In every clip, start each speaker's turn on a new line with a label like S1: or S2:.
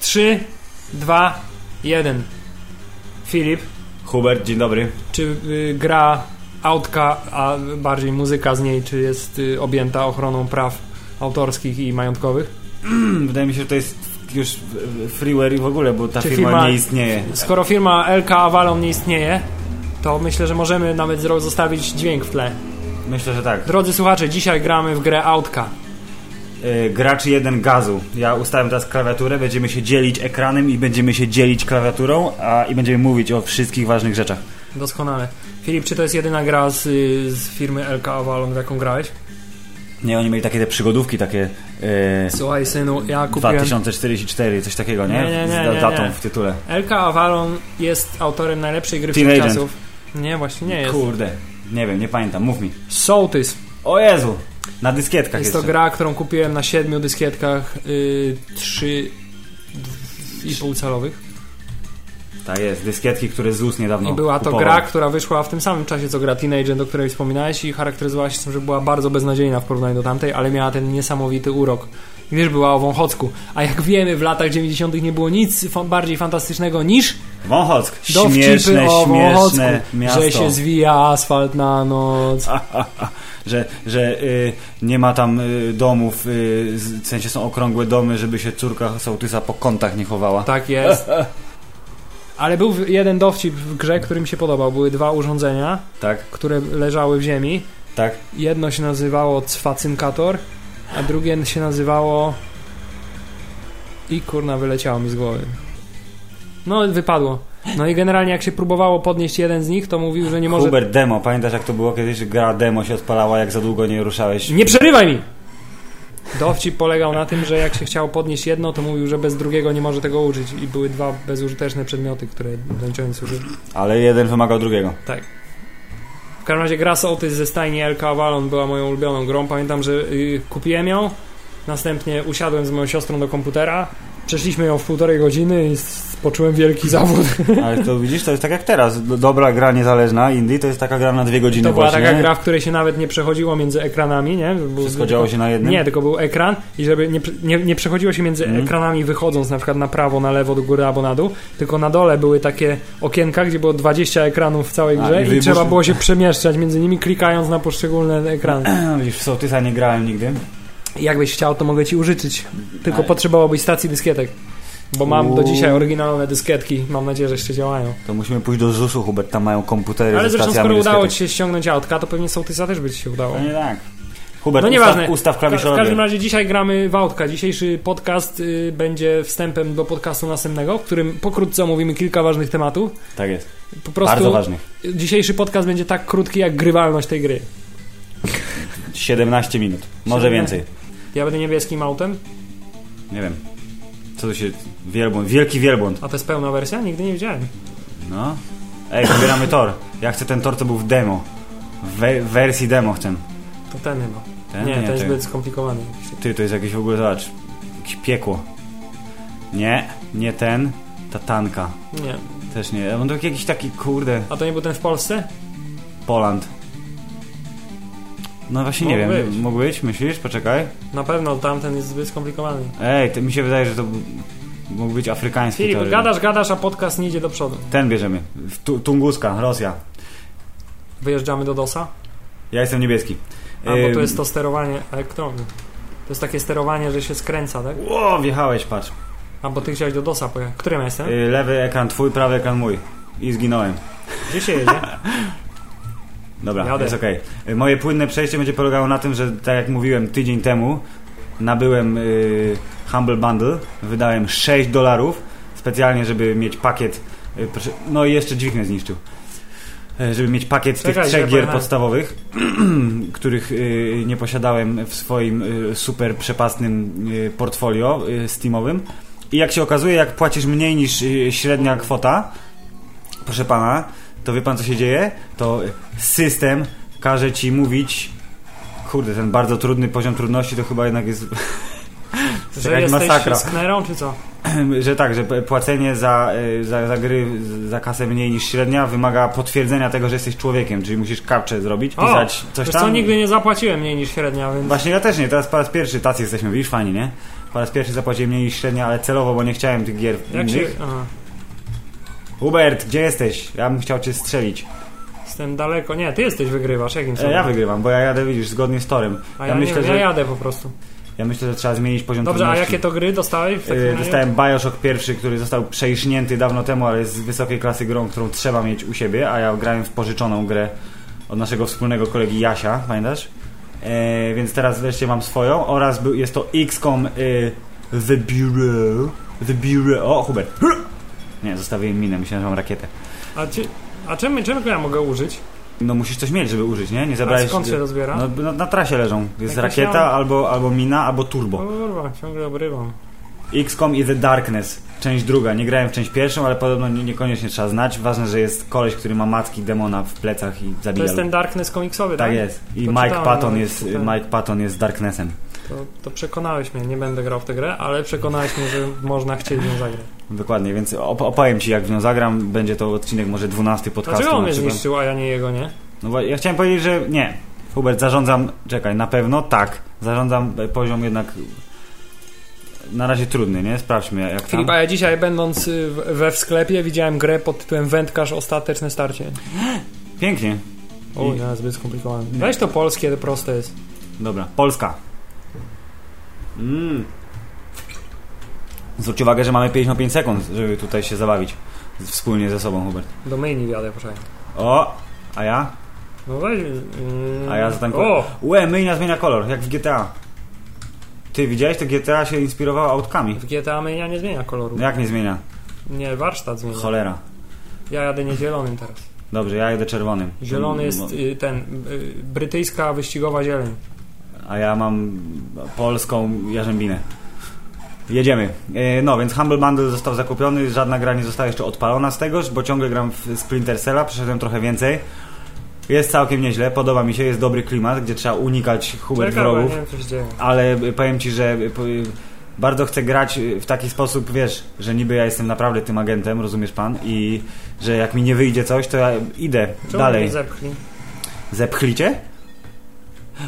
S1: 3, 2, 1. Filip,
S2: Hubert, dzień dobry.
S1: czy y, gra autka, a bardziej muzyka z niej, czy jest y, objęta ochroną praw autorskich i majątkowych?
S2: Hmm, Wydaje mi się, że to jest już freeware i w ogóle, bo ta
S1: Czy
S2: firma,
S1: firma-
S2: nie istnieje.
S1: Skoro firma LK Avalon nie istnieje, to myślę, że możemy nawet zro- zostawić dźwięk w tle.
S2: Myślę, że tak.
S1: Drodzy słuchacze, dzisiaj gramy w grę autka.
S2: E, gracz jeden gazu. Ja ustawiam teraz klawiaturę, będziemy się dzielić ekranem i będziemy się dzielić klawiaturą a, i będziemy mówić o wszystkich ważnych rzeczach.
S1: Doskonale. Filip, czy to jest jedyna gra z, y, z firmy LK Avalon, w jaką grałeś?
S2: Nie, oni mieli takie te przygodówki, takie e,
S1: Słuchaj synu, ja kupiłem...
S2: 2044, coś takiego, nie?
S1: Nie, nie, nie,
S2: Z
S1: nie,
S2: da- datą
S1: nie.
S2: w tytule.
S1: LK Avalon jest autorem najlepszej gry
S2: Teen Agent.
S1: wszechczasów. Nie, właśnie nie jest.
S2: Kurde, nie wiem, nie pamiętam, mów mi.
S1: Sołtys.
S2: O Jezu, na dyskietkach
S1: Jest
S2: jest.
S1: to gra, którą kupiłem na siedmiu dyskietkach y, 3 i pół calowych.
S2: Tak jest, dyskietki, które ZUS niedawno
S1: I była to
S2: kupował.
S1: gra, która wyszła w tym samym czasie co gra Teenager, do której wspominałeś i charakteryzowała się tym, że była bardzo beznadziejna w porównaniu do tamtej, ale miała ten niesamowity urok. Gdyż była o Wąchocku. A jak wiemy, w latach 90. nie było nic fa- bardziej fantastycznego niż
S2: Wąchock,
S1: dowcipy
S2: śmieszne,
S1: o Wąchocku,
S2: śmieszne miasto.
S1: że się zwija asfalt na noc.
S2: że, że y, nie ma tam y, domów, y, z- w sensie są okrągłe domy, żeby się córka sołtysa po kątach nie chowała.
S1: Tak jest. Ale był w- jeden dowcip w grze, który mi się podobał. Były dwa urządzenia,
S2: Tak,
S1: które leżały w ziemi.
S2: tak.
S1: Jedno się nazywało cwacynkator, a drugie się nazywało... I kurna, wyleciało mi z głowy. No, wypadło. No i generalnie jak się próbowało podnieść jeden z nich, to mówił, że nie może...
S2: Hubert Demo, pamiętasz jak to było kiedyś, że gra Demo się odpalała, jak za długo nie ruszałeś?
S1: Nie przerywaj mi! Dowcip polegał na tym, że jak się chciało podnieść jedno, to mówił, że bez drugiego nie może tego użyć. I były dwa bezużyteczne przedmioty, które kończyłem służyć.
S2: Ale jeden wymagał drugiego.
S1: W każdym razie gra Sołtys ze stajni LK Avalon była moją ulubioną grą. Pamiętam, że y, kupiłem ją, następnie usiadłem z moją siostrą do komputera, przeszliśmy ją w półtorej godziny i s- poczułem
S2: No
S1: wielki zawód.
S2: Ale to widzisz, to jest tak jak teraz. Do- Dobra gra niezależna, indie, to jest taka gra na dwie godziny
S1: to była
S2: właśnie.
S1: taka gra, w której się nawet nie przechodziło między ekranami, nie? Był-
S2: Wszystko działo się na jednym?
S1: Nie, tylko był ekran i żeby nie, prze- nie, nie przechodziło się między
S2: Mhm.
S1: ekranami wychodząc na przykład na prawo, na lewo, do góry albo na dół, tylko na dole były takie okienka, gdzie było 20 ekranów w całej
S2: A,
S1: grze
S2: i
S1: i,
S2: wybór-
S1: trzeba było się przemieszczać między nimi klikając na poszczególne ekrany.
S2: Widzisz, w sołtysa nie grałem nigdy.
S1: Jakbyś chciał, to mogę ci użyczyć. Tylko
S2: Ale-
S1: potrzebowałbyś stacji dyskietek. Bo mam do
S2: Uuu.
S1: dzisiaj oryginalne dyskietki. Mam nadzieję, że jeszcze działają.
S2: To musimy pójść do ZUS-u, Hubert, tam mają komputery
S1: Ale
S2: ze
S1: zresztą,
S2: stacjami
S1: skoro udało
S2: dyskietek.
S1: ci się ściągnąć autka, to pewnie sołtysa też by ci się udało.
S2: To nie tak. Hubert,
S1: No nieważne.
S2: ustaw, ustaw
S1: Ka- W każdym
S2: klawiszorowy.
S1: razie dzisiaj gramy w autka. Dzisiejszy podcast y, będzie wstępem do podcastu następnego, w którym pokrótce omówimy kilka ważnych tematów.
S2: Tak jest.
S1: Po prostu
S2: Bardzo ważnych.
S1: dzisiejszy podcast będzie tak krótki jak grywalność tej gry.
S2: 17 minut. Może
S1: 17.
S2: więcej.
S1: Ja będę niebieskim autem,
S2: Nie wiem. Co tu się... Wielbłąd. Wielki wielbłąd.
S1: a to jest pełna wersja? Nigdy nie widziałem.
S2: No. Ej, wybieramy tor. Ja chcę ten tor, co był w demo. W we- wersji demo chcę.
S1: To ten chyba.
S2: Ten?
S1: nie, ten jest
S2: ten.
S1: zbyt skomplikowany.
S2: Ty, to jest jakieś w ogóle, zobacz. Jakieś piekło. Nie, nie ten. Ta tanka.
S1: Nie.
S2: Też nie. On to jakiś taki, kurde,
S1: A to nie był ten w Polsce?
S2: Poland. No właśnie nie
S1: Mógł
S2: wiem.
S1: być.
S2: Mógł być, myślisz? Poczekaj.
S1: Na pewno tamten jest zbyt skomplikowany.
S2: Ej, to mi się wydaje, że to b- mógł być afrykański
S1: Filip,
S2: tor.
S1: gadasz, gadasz, a podcast nie idzie do przodu.
S2: Ten bierzemy. W Tu- Tunguska, Rosja.
S1: Wyjeżdżamy do DOSa,
S2: Ja jestem niebieski.
S1: a bo
S2: Ym,
S1: tu jest to sterowanie elektrowni. To jest takie sterowanie, że się skręca, tak?
S2: Ło, wjechałeś, patrz.
S1: A bo ty chciałeś do DOSa pojechać. Którym ja jestem?
S2: Y, lewy ekran twój, prawy ekran mój. I zginąłem.
S1: Gdzie się jedzie?
S2: Dobra,
S1: Jadę.
S2: jest okej. Y, Moje płynne przejście będzie polegało na tym, że tak jak mówiłem tydzień temu, nabyłem y, Humble Bundle, wydałem 6 dolarów specjalnie, żeby mieć pakiet. y, proszę- no i jeszcze dźwig mnie zniszczył. Y, Żeby mieć pakiet
S1: Czekaj,
S2: tych trzech
S1: źle
S2: gier
S1: pojechałem.
S2: podstawowych, których y, nie posiadałem w swoim y, super przepastnym y, portfolio y, Steamowym. I jak się okazuje, jak płacisz mniej niż y, średnia kwota, proszę pana, to wie pan co się dzieje? To system każe ci mówić. Kurde, ten bardzo trudny poziom trudności to chyba jednak jest.
S1: Że
S2: jakaś
S1: jesteś
S2: masakra.
S1: sknerą, czy co?
S2: że tak, że p- płacenie za, y, za, za gry z- za kasę mniej niż średnia wymaga potwierdzenia tego, że jesteś człowiekiem, czyli musisz kapcze zrobić,
S1: O,
S2: pisać coś
S1: Wiesz
S2: tam.
S1: co, nigdy nie zapłaciłem mniej niż średnia, więc...
S2: Właśnie ja też nie, teraz po raz pierwszy tacy jesteśmy, widzisz, fajnie, nie? Po raz pierwszy zapłaciłem mniej niż średnia, ale celowo, bo nie chciałem tych gier
S1: Jak się...
S2: innych.
S1: Aha,
S2: Hubert, gdzie jesteś? Ja bym chciał cię strzelić.
S1: jestem daleko. Nie, ty jesteś wygrywasz, jakim
S2: E,
S1: sobie?
S2: ja wygrywam, bo ja jadę, widzisz, zgodnie z torem.
S1: A
S2: ja
S1: ja,
S2: myślę,
S1: nie,
S2: że-
S1: ja jadę po prostu.
S2: Ja myślę, że trzeba zmienić poziom
S1: Dobrze, a
S2: trudności.
S1: jakie to gry dostałeś w takim
S2: E,
S1: razie?
S2: Dostałem Bioshock pierwszy, który został przeisznięty dawno temu, ale jest z wysokiej klasy grą, którą trzeba mieć u siebie, a ja grałem w pożyczoną grę od naszego wspólnego kolegi Jasia, pamiętasz? E, więc teraz wreszcie mam swoją oraz był, jest to XCOM e, The Bureau The Bureau, o Hubert nie, zostawiłem minę, myślałem, że mam rakietę
S1: A, ci... a czym, czym ja mogę użyć?
S2: no musisz coś mieć, żeby użyć, nie? Nie
S1: A
S2: zabrałeś...
S1: skąd się rozbiera?
S2: no, no, na trasie leżą,
S1: Jakieś
S2: jest rakieta
S1: tam-
S2: albo, albo mina, albo turbo
S1: Kurwa, ciągle obrywam.
S2: XCOM i The Darkness, część druga. Nie grałem w część pierwszą, ale podobno nie, niekoniecznie trzeba znać. Ważne, że jest koleś, który ma macki demona w plecach i
S1: To
S2: zabija.
S1: jest ten
S2: ludzi.
S1: Darkness komiksowy, tak?
S2: tak jest. I
S1: To
S2: Mike
S1: czytałem
S2: Patton
S1: nawet
S2: jest,
S1: tutaj.
S2: Mike Patton jest Darknessem.
S1: To, to przekonałeś mnie, nie będę grał w tę grę, ale przekonałeś mnie, że można chcieć nią zagrać.
S2: Dokładnie, więc op opowiem ci, jak w nią zagram. Będzie to odcinek może 12 podcastu.
S1: Dlaczego on
S2: na
S1: mnie
S2: przykład.
S1: zniszczył, a ja nie jego, nie?
S2: No bo ja chciałem powiedzieć, że nie. Hubert, zarządzam, czekaj, na pewno tak. Zarządzam e, poziom jednak na razie trudny, nie? Sprawdźmy jak tam.
S1: Filip, a ja dzisiaj będąc y, w- we w sklepie widziałem grę pod tytułem Wędkarz Ostateczne Starcie.
S2: Pięknie.
S1: O,
S2: I-
S1: nie, zbyt skomplikowane.
S2: Nie.
S1: Weź to polskie, to proste jest.
S2: Dobra, Polska. Mm. Zwróć uwagę, że mamy 55 sekund, żeby tutaj się zabawić z- wspólnie ze sobą, Hubert.
S1: Do myjni wiadę, proszę.
S2: O, a ja?
S1: No weź... Yy...
S2: A ja zatankuję.
S1: O!
S2: Ue, myjnia zmienia kolor, jak w GTA. Ty widziałeś, to GTA się inspirowało autkami.
S1: W GTA myjnia nie zmienia koloru.
S2: No jak nie zmienia?
S1: Nie, warsztat zmienia.
S2: Cholera.
S1: Ja jadę nie zielonym teraz.
S2: Dobrze, ja jedę czerwonym.
S1: Zielony
S2: Mm,
S1: jest y, ten... Y, brytyjska wyścigowa zieleń.
S2: A ja mam polską jarzębinę. Jedziemy. E, No, więc Humble Bundle został zakupiony, żadna gra nie została jeszcze odpalona z tegoż, bo ciągle gram w Splinter Cella, przeszedłem trochę więcej. Jest całkiem nieźle, podoba mi się, jest dobry klimat, gdzie trzeba unikać Hubert
S1: Czekaj, bo ja
S2: wrogów,
S1: nie wiem, co się dzieje.
S2: ale powiem Ci, że y, po- y, bardzo chcę grać y, w taki sposób, wiesz, że niby ja jestem naprawdę tym agentem, rozumiesz Pan, i że jak mi nie wyjdzie coś, to ja idę
S1: Czemu
S2: dalej.
S1: mnie zepchli?
S2: Zepchlicie?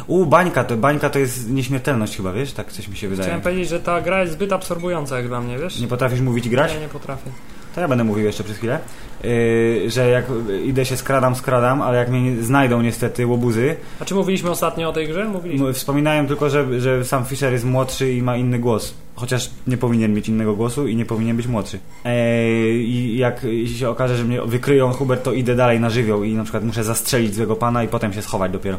S2: U, bańka to, bańka to jest nieśmiertelność chyba, wiesz? Tak coś mi się wydaje.
S1: Chciałem powiedzieć, że ta gra jest zbyt absorbująca jak dla mnie, wiesz?
S2: Nie potrafisz mówić i grać?
S1: Nie, nie potrafię.
S2: To ja będę mówił jeszcze przez chwilę. Yy, że jak idę się skradam, skradam, ale jak mnie znajdą niestety łobuzy.
S1: A czy mówiliśmy ostatnio o tej grze? Mówiliśmy.
S2: M- Wspominałem tylko, że, że sam Fisher jest młodszy i ma inny głos. Chociaż nie powinien mieć innego głosu i nie powinien być młodszy. Yy, I jak się okaże, że mnie wykryją Hubert, to idę dalej na żywioł i na przykład muszę zastrzelić złego pana i potem się schować dopiero.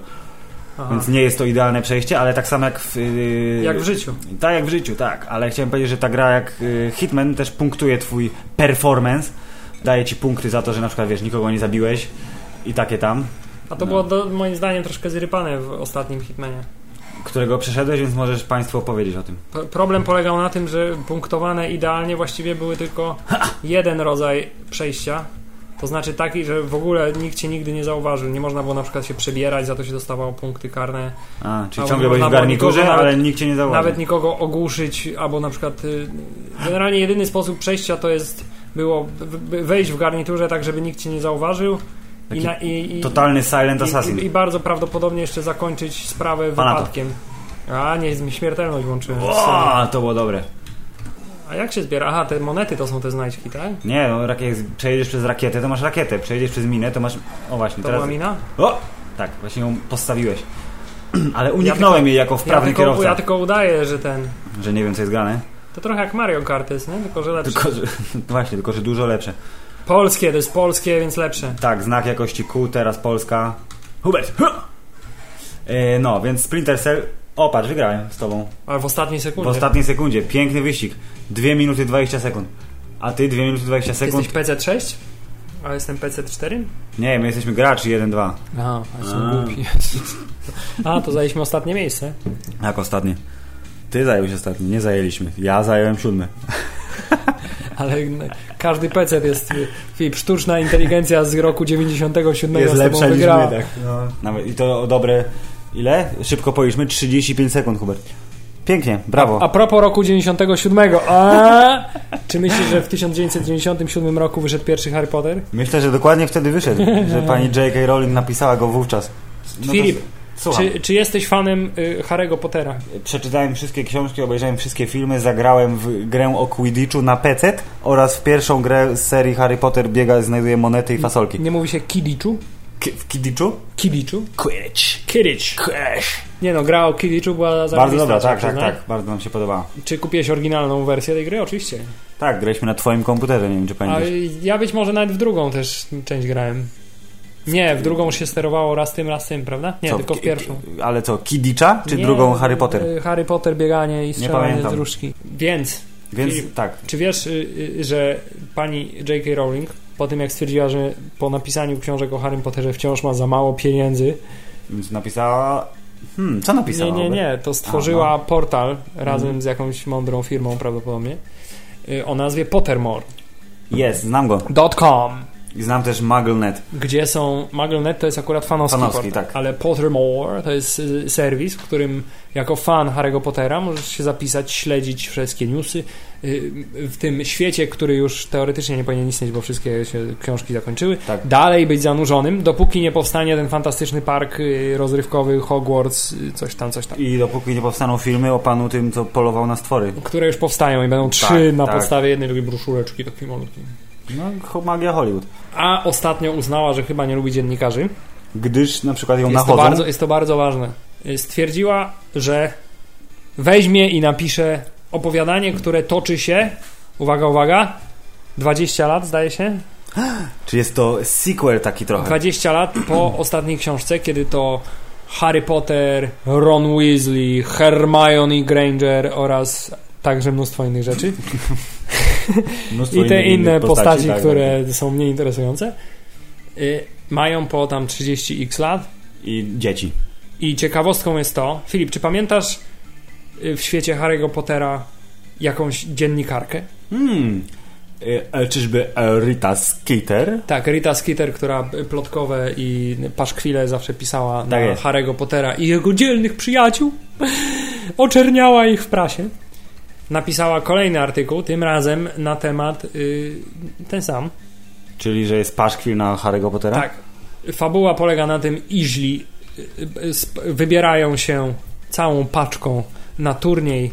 S1: Aha.
S2: Więc nie jest to idealne przejście, ale tak samo jak w... Yy,
S1: Jak w życiu.
S2: Tak jak w życiu, tak, ale chciałem powiedzieć, że ta gra jak y, Hitman też punktuje twój performance, daje ci punkty za to, że na przykład wiesz, nikogo nie zabiłeś i takie tam,
S1: A to
S2: No.
S1: było do, moim zdaniem troszkę zrypane w ostatnim Hitmanie.
S2: którego przeszedłeś, więc możesz Państwu opowiedzieć o tym.
S1: P- Problem polegał na tym, że punktowane idealnie właściwie były tylko jeden rodzaj przejścia. To znaczy taki, że w ogóle nikt cię nigdy nie zauważył. Nie można było na przykład się przebierać, za to się dostawało punkty karne.
S2: A, czyli
S1: A,
S2: ciągle
S1: bo
S2: byłeś w
S1: nawet
S2: garniturze,
S1: nikogo- nawet-
S2: ale nikt cię nie zauważył.
S1: Nawet nikogo ogłuszyć, albo na przykład. y, Generalnie jedyny sposób przejścia to jest było w- w- wejść w garniturze tak, żeby nikt cię nie zauważył. I,
S2: Taki
S1: na, i, i,
S2: Totalny silent assassin.
S1: I, i, I bardzo prawdopodobnie jeszcze zakończyć sprawę
S2: Pana to.
S1: wypadkiem. A, nie, z- śmiertelność włączyłem. Sorry.
S2: O, to było dobre.
S1: A jak się zbiera? Aha, te monety to są te znajdźki, tak?
S2: Nie, no, rak- jak przejdziesz przez rakietę, to masz rakietę, przejdziesz przez minę, to masz... O właśnie,
S1: To
S2: teraz...
S1: była mina?
S2: O! Tak, właśnie ją postawiłeś. Ale uniknąłem jej jako
S1: Ja
S2: wprawny
S1: tylko,
S2: kierowca,
S1: ja tylko udaję, że ten...
S2: że nie wiem co jest grane.
S1: To trochę jak Mario Kart jest, nie? Tylko, że lepsze.
S2: Tylko, że, no właśnie, tylko że dużo lepsze.
S1: Polskie, to jest polskie, więc lepsze.
S2: Tak, znak jakości Q, teraz Polska. Hubert! Huh! E, no, więc Splinter Cell. O, patrz, wygrałem z tobą.
S1: Ale w ostatniej
S2: W
S1: sekundzie.
S2: ostatniej sekundzie. Piękny wyścig. 2 minuty 20 sekund. A ty 2 minuty 20
S1: Ty
S2: sekund?
S1: jesteś PC6? A jestem PC4?
S2: Nie, my jesteśmy graczy 1-2.
S1: Aha, a
S2: jestem głupi.
S1: A, to zajęliśmy ostatnie miejsce.
S2: Jak ostatnie? Ty zająłeś ostatni, nie zajęliśmy. Ja zająłem siódmy.
S1: Ale n- każdy PC jest... y, Filip, sztuczna inteligencja z roku 97
S2: Jest
S1: z tobą
S2: lepsza niż
S1: wygrała.
S2: my, tak. No. Nawet, I to o dobre... Ile? Szybko policzmy. 35 sekund, Hubert. Pięknie, brawo.
S1: A propos roku 97, a czy myślisz, że w 1997 roku wyszedł pierwszy Harry Potter?
S2: Myślę, że dokładnie wtedy wyszedł, że pani J.K. Rowling napisała go wówczas. No to-
S1: Filip,
S2: Słucham.
S1: Czy, czy jesteś fanem y, Harry'ego Pottera?
S2: Przeczytałem wszystkie książki, obejrzałem wszystkie filmy, zagrałem w grę o Quidditchu na PC oraz w pierwszą grę z serii Harry Potter biega, znajduje monety i fasolki.
S1: Nie mówi się Kidiczu?
S2: Ki- w Quidditchu?
S1: Kidiczu?
S2: Quidditch.
S1: Kidicz.
S2: Quidditch.
S1: Nie no, gra o Kidiczu była za
S2: Bardzo dobra, tak, tak, tak.
S1: no.
S2: Bardzo nam się podobała.
S1: Czy kupiłeś oryginalną wersję tej gry? Oczywiście.
S2: Tak, graliśmy na twoim komputerze, nie wiem czy
S1: A
S2: pamiętasz.
S1: ja być może nawet w drugą też część grałem. Nie, w drugą się sterowało raz tym, raz tym, prawda? Nie,
S2: Co,
S1: tylko w
S2: ki-
S1: pierwszą.
S2: Ale co, Kidditcha czy
S1: Nie,
S2: drugą Harry Potter?
S1: y, Harry Potter, bieganie i strzelanie
S2: pamiętam.
S1: z różdżki. Więc,
S2: Więc
S1: i-
S2: tak,
S1: czy wiesz, y, y, że pani J.K. Rowling po tym jak stwierdziła, że po napisaniu książek o Harry Potterze wciąż ma za mało pieniędzy,
S2: więc napisała... Hmm, co napisała?
S1: nie, nie, nie, to stworzyła
S2: A, no.
S1: portal razem
S2: Mhm.
S1: z jakąś mądrą firmą prawdopodobnie y, o nazwie pottermore.com,
S2: Jest, znam go. I znam też MuggleNet.
S1: gdzie są MuggleNet to jest akurat fanowski,
S2: Fanowski,
S1: portal,
S2: tak.
S1: ale Pottermore to jest y, serwis, w którym jako fan Harry'ego Pottera możesz się zapisać, śledzić wszystkie newsy y, w tym świecie, który już teoretycznie nie powinien istnieć, bo wszystkie się książki zakończyły.
S2: Tak.
S1: Dalej być zanurzonym, dopóki nie powstanie ten fantastyczny park y, rozrywkowy Hogwarts, y, coś tam, coś tam.
S2: I dopóki nie powstaną filmy o panu tym, co polował na stwory.
S1: które już powstają i będą trzy na
S2: tak.
S1: podstawie jednej takiej broszureczki takiej malutkiej.
S2: No, ho- magia Hollywood.
S1: A ostatnio uznała, że chyba nie lubi dziennikarzy.
S2: Gdyż na przykład ją
S1: Jest to,
S2: nachodzą...
S1: bardzo, jest to bardzo ważne. Y, Stwierdziła, że weźmie i napisze opowiadanie, które toczy się, uwaga, uwaga, 20 lat zdaje się,
S2: Czy jest to sequel taki trochę?
S1: 20 lat po ostatniej książce, kiedy to Harry Potter, Ron Weasley, Hermione Granger oraz także mnóstwo innych rzeczy.
S2: Mnóstwo
S1: I te
S2: innych-
S1: inne
S2: innych
S1: postaci,
S2: tak,
S1: które są mniej interesujące, y, mają po tam 30x lat.
S2: tak. I dzieci.
S1: I ciekawostką jest to, Filip, czy pamiętasz y, w świecie Harry'ego Pottera jakąś dziennikarkę?
S2: Hmm. Y, e, Czyżby e, Rita Skeeter?
S1: Tak, Rita Skeeter, która y, plotkowe i paszkwile zawsze pisała na
S2: Tak jest.
S1: Harry'ego Pottera i jego dzielnych przyjaciół, oczerniała ich w prasie. Napisała kolejny artykuł, tym razem na temat y, ten sam,
S2: Czyli, że jest paszkwil na Harry'ego Pottera?
S1: Tak. Fabuła polega na tym, iźli y, y, sp- wybierają się całą paczką na turniej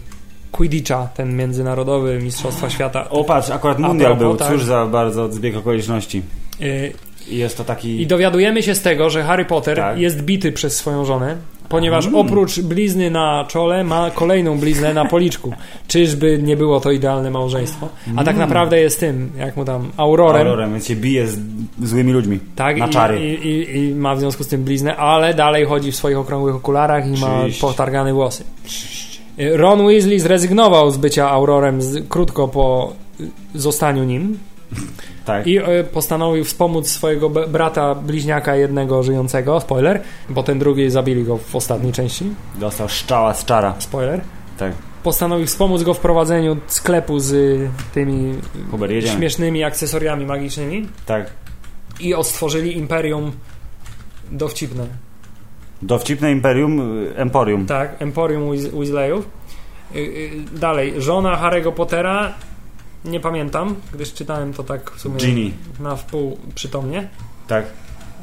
S1: Quidditcha, ten międzynarodowy Mistrzostwa Świata.
S2: O patrz, akurat
S1: A
S2: mundial
S1: propos,
S2: był,
S1: tak.
S2: cóż za bardzo zbieg okoliczności.
S1: Y,
S2: I jest to taki...
S1: I dowiadujemy się z tego, że Harry Potter
S2: Tak.
S1: jest bity przez swoją żonę, ponieważ
S2: Mm.
S1: oprócz blizny na czole ma kolejną bliznę na policzku. Czyżby nie było to idealne małżeństwo? A tak naprawdę jest tym, jak mu tam, aurorem.
S2: Mm. Aurorem, więc się bije z złymi ludźmi.
S1: Tak,
S2: Na
S1: i,
S2: czary.
S1: I, i, I ma w związku z tym bliznę, ale dalej chodzi w swoich okrągłych okularach i ma
S2: Oczywiście.
S1: potargane włosy. Y, Ron Weasley zrezygnował z bycia Aurorem z, krótko po y, zostaniu nim
S2: Tak.
S1: i y, postanowił wspomóc swojego be- brata bliźniaka jednego żyjącego, spoiler, bo ten drugi zabili go w ostatniej części,
S2: Dostał szczała z czara.
S1: spoiler.
S2: Tak.
S1: Postanowił wspomóc go w prowadzeniu sklepu z y, tymi
S2: Huber, jedziemy.
S1: śmiesznymi akcesoriami magicznymi
S2: tak.
S1: i odstworzyli imperium dowcipne.
S2: Dowcipne imperium, y, emporium.
S1: Tak, Emporium Weas- Weasleyów. Y, y, Dalej, żona Harry'ego Pottera, nie pamiętam, gdyż czytałem to tak w sumie
S2: Genie.
S1: na wpół przytomnie.
S2: Tak.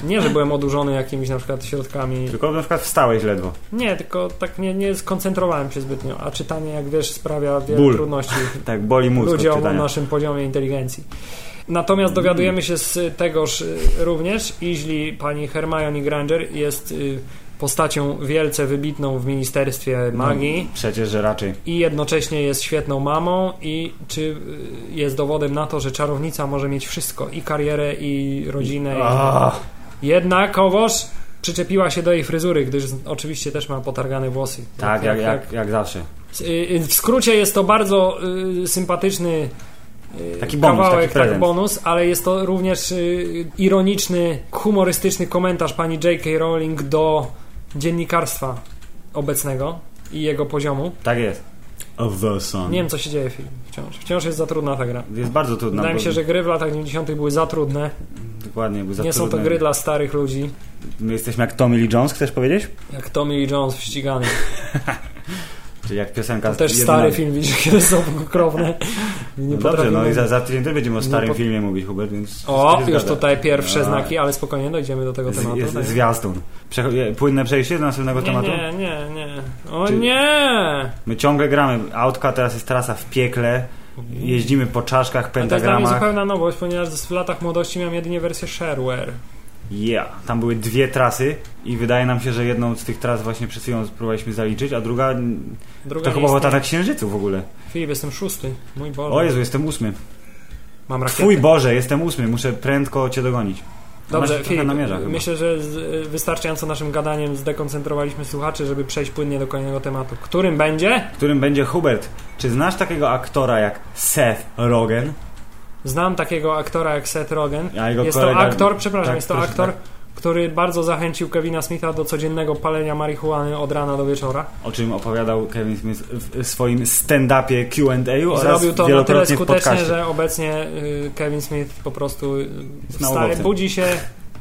S1: Nie, że byłem odurzony jakimiś na przykład środkami.
S2: Tylko na przykład wstałeś ledwo.
S1: Nie, tylko tak nie, nie skoncentrowałem się zbytnio, a czytanie, jak wiesz, sprawia wiele
S2: Ból.
S1: trudności
S2: Tak, boli mózg od
S1: ludziom o
S2: czytania.
S1: naszym poziomie inteligencji. Natomiast dowiadujemy się z tegoż y, również, iźli pani Hermione Granger jest y, postacią wielce wybitną w Ministerstwie
S2: No.
S1: Magii.
S2: Przecież, że raczej.
S1: i jednocześnie jest świetną mamą i czy y, jest dowodem na to, że czarownica może mieć wszystko i karierę i rodzinę. I...
S2: Ah,
S1: Jednakowoż przyczepiła się do jej fryzury, gdyż z- oczywiście też ma potargane włosy.
S2: tak, jak, jak, jak zawsze.
S1: Y, y, W skrócie jest to bardzo y, sympatyczny y,
S2: Taki bonus,
S1: kawałek,
S2: taki prezent.
S1: tak bonus, ale jest to również y, ironiczny, humorystyczny komentarz pani J.K. Rowling do dziennikarstwa obecnego i jego poziomu.
S2: Tak jest. Of the sun.
S1: Nie wiem, co się dzieje Filip, wciąż. Wciąż jest za trudna ta gra.
S2: Jest bardzo trudna.
S1: Wydaje mi
S2: bo-
S1: się, że gry w latach 90. były za trudne.
S2: Dokładnie, bo za
S1: nie są to
S2: trudne.
S1: gry dla starych ludzi,
S2: My jesteśmy jak Tommy Lee Jones, chcesz powiedzieć?
S1: jak Tommy Lee Jones w ściganym.
S2: Czyli jak piosenka...
S1: To też
S2: z-
S1: stary
S2: jedyna-
S1: film, widzisz, kiedy są pokrowne. Nie
S2: No dobrze,
S1: potrafimy-
S2: no i za, za tydzień też będziemy o
S1: Nie
S2: starym
S1: pot-
S2: filmie mówić, Hubert, więc...
S1: O,
S2: wszystko się
S1: już
S2: zgadza.
S1: tutaj pierwsze
S2: No.
S1: znaki, ale spokojnie dojdziemy do tego tematu.
S2: Z, jest,
S1: tak?
S2: zwiastun. Przecho- płynne przejście do następnego
S1: nie,
S2: tematu?
S1: nie, nie, nie. O
S2: Czy-
S1: nie!
S2: My ciągle gramy. Autka, teraz jest trasa w piekle. Jeździmy po czaszkach,
S1: A to jest dla mnie
S2: pentagramach.
S1: zupełna nowość, ponieważ w latach młodości miałem jedynie wersję shareware.
S2: Yeah. Tam były dwie trasy i wydaje nam się, że jedną z tych tras właśnie przed chwilą spróbowaliśmy zaliczyć, a druga n-
S1: Druga nie
S2: to chyba
S1: istnieje.
S2: była ta na Księżycu w ogóle.
S1: Filip, jestem szósty. Mój Boże.
S2: O Jezu, jestem ósmy.
S1: Mam rakietę.
S2: Twój Boże, jestem ósmy, muszę prędko cię dogonić.
S1: Dobrze,
S2: Masz trochę
S1: Filip,
S2: namierza chyba.
S1: myślę, że z, y, wystarczająco naszym gadaniem zdekoncentrowaliśmy słuchaczy, żeby przejść płynnie do kolejnego tematu. Którym będzie?
S2: Którym będzie Hubert. Czy znasz takiego aktora jak Seth Rogen?
S1: Znam takiego aktora jak Seth Rogen.
S2: A jego
S1: Jest to
S2: kolega-
S1: aktor, przepraszam,
S2: tak,
S1: jest to
S2: proszę,
S1: aktor,
S2: tak.
S1: który bardzo zachęcił Kevina Smitha do codziennego palenia marihuany od rana do wieczora.
S2: O czym opowiadał Kevin Smith w w swoim stand-upie Q&A oraz
S1: Zrobił to na tyle
S2: wielokrotnie w
S1: skutecznie,
S2: podcaście.
S1: że obecnie y, Kevin Smith po prostu y,
S2: na
S1: wstaje,
S2: urlopie.
S1: budzi się,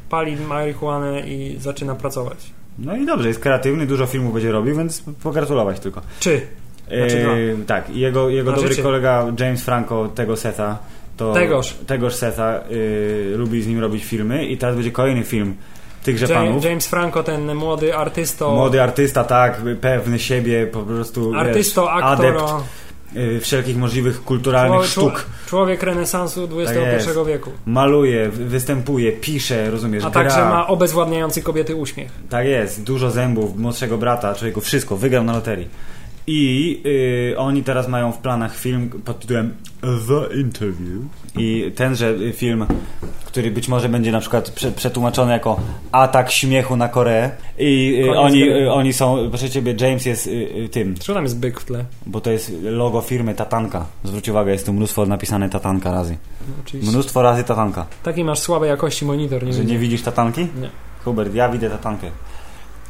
S1: pali marihuanę i zaczyna pracować.
S2: No i dobrze, jest kreatywny, dużo filmów będzie robił, więc pogratulować tylko.
S1: Czy Znaczy
S2: Eee, tak, i jego, jego
S1: Na
S2: dobry
S1: życie.
S2: kolega James Franco, tego seta, to
S1: Tegoż.
S2: tegoż seta y, lubi z nim robić filmy i teraz będzie kolejny film tychże panów.
S1: James, James Franco, ten młody artysto,
S2: Młody artysta, tak, pewny siebie, po prostu
S1: artysto,
S2: wiesz,
S1: aktor,
S2: adept
S1: o,
S2: y, wszelkich możliwych kulturalnych
S1: człowiek-
S2: sztuk. Tak
S1: człowiek renesansu XXI
S2: jest.
S1: wieku,
S2: Maluje, wy- występuje, pisze, rozumiesz,
S1: a
S2: gra.
S1: także ma obezwładniający kobiety uśmiech.
S2: Tak jest, dużo zębów, młodszego brata, człowieku, wszystko, wygrał na loterii. I y, oni teraz mają w planach film pod tytułem The Interview. I tenże film, który być może będzie na przykład prze, przetłumaczony jako Atak śmiechu na Koreę. I y,
S1: Koniec
S2: oni,
S1: Korea.
S2: y, oni są, proszę ciebie, James jest y, y, tym,
S1: Czy tam jest byk w tle?
S2: bo to jest logo firmy Tatanka. Zwróć uwagę, jest tu mnóstwo napisane Tatanka razy.
S1: No, Oczywiście.
S2: Mnóstwo razy Tatanka.
S1: Taki masz słabej jakości monitor, nie
S2: Że nie
S1: widzę.
S2: widzisz Tatanki?
S1: Nie.
S2: Hubert, ja widzę tatankę.